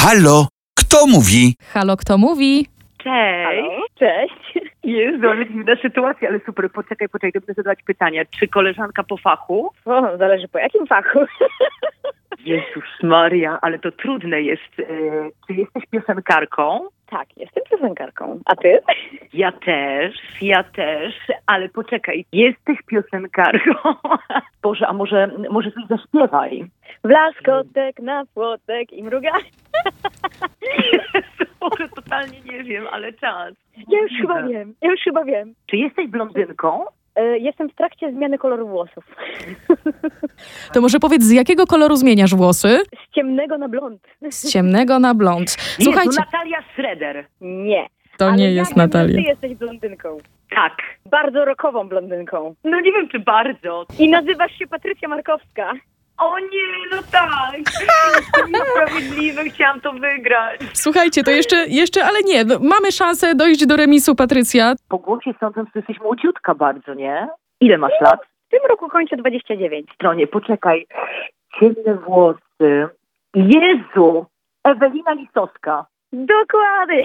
Halo, kto mówi? Halo, kto mówi? Cześć. Halo? Cześć. Jezu, ale dziwna sytuacja, ale super. Poczekaj, poczekaj, dobrze zadawać pytania. Czy koleżanka po fachu? O, zależy po jakim fachu. Jezus Maria, ale to trudne jest. E, Czy jesteś piosenkarką? Tak, jestem piosenkarką. A ty? Ja też, ja też, ale poczekaj, jesteś piosenkarką. Boże, a może, może coś zaśpiewaj? W Mm. laskotek, na płotek i mruga. Boże, totalnie nie wiem, ale czas. Ja już chyba wiem, ja już chyba wiem. Czy jesteś blondynką? E, Jestem w trakcie zmiany koloru włosów. To może powiedz, z jakiego koloru zmieniasz włosy? Z ciemnego na blond. Z ciemnego na blond. Jezu, Słuchajcie, Natalia Schroeder. Nie. to Ale nie ja jest wiem, że Natalia. Ty jesteś blondynką. Tak. Bardzo rokową blondynką. No nie wiem, czy bardzo. I nazywasz się Patrycja Markowska. O nie, no tak. To niesprawiedliwe, chciałam to wygrać. Słuchajcie, to jeszcze, jeszcze, ale nie, no, mamy szansę dojść do remisu, Patrycja. Po głosie sądzę, że jesteś młodziutka bardzo, nie? Ile masz lat? W tym roku kończę 29. No nie, poczekaj. Ciemne włosy. Jezu! Ewelina Lisowska. Dokładnie.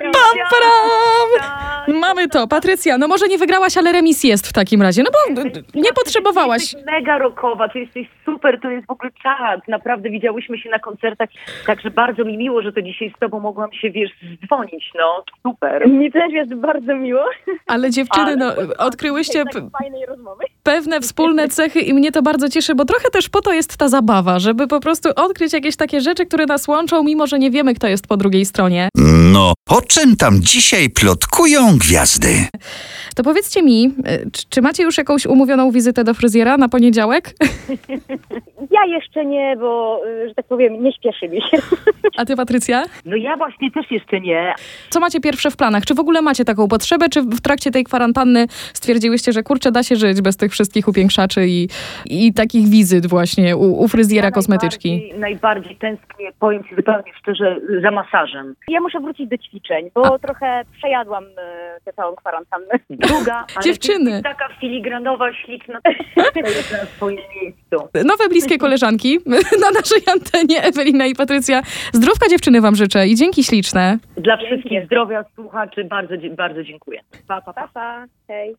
Pam, pam! Tak. Mamy to, Patrycja. No może nie wygrałaś, ale remis jest w takim razie, no bo y, nie potrzebowałaś. Jesteś mega rokowa, ty jesteś super, to jest w ogóle czad. Naprawdę widziałyśmy się na koncertach, także bardzo mi miło, że to dzisiaj z tobą mogłam się, wiesz, zdzwonić, no. Super. Mi też jest bardzo miło. Ale dziewczyny, no, odkryłyście Tak p- fajnej rozmowy. pewne wspólne cechy i mnie to bardzo cieszy, bo trochę też po to jest ta zabawa, żeby po prostu odkryć jakieś takie rzeczy, które nas łączą, mimo że nie wiemy, kto jest po drugiej stronie. No, o czym tam dzisiaj plotkują gwiazdy? To powiedzcie mi, y, czy, czy macie już jakąś umówioną wizytę do fryzjera na poniedziałek? Ja jeszcze nie, bo, y, że tak powiem, nie śpieszy mi się. A ty, Patrycja? No ja właśnie też jeszcze nie, Co macie pierwsze w planach? Czy w ogóle macie taką potrzebę? Czy w trakcie tej kwarantanny stwierdziłyście, że kurczę, da się żyć bez tych wszystkich upiększaczy i, i takich wizyt właśnie u, u fryzjera Ja kosmetyczki? Najbardziej, najbardziej tęsknię, powiem Ci zupełnie szczerze, za masażem. Ja muszę wrócić do ćwiczeń, bo trochę przejadłam y, tę całą kwarantannę. Druga, ale Dziewczyny. ty jesteś taka filigranowa, śliczna, to jest na swoim miejscu. Nowe bliskie koleżanki na naszej antenie Ewelina i Patrycja. Zdrówka dziewczyny wam życzę i dzięki śliczne. Dla wszystkich zdrowia słuchaczy bardzo, dzie- bardzo dziękuję. Pa, pa, pa. Pa, pa. Hej.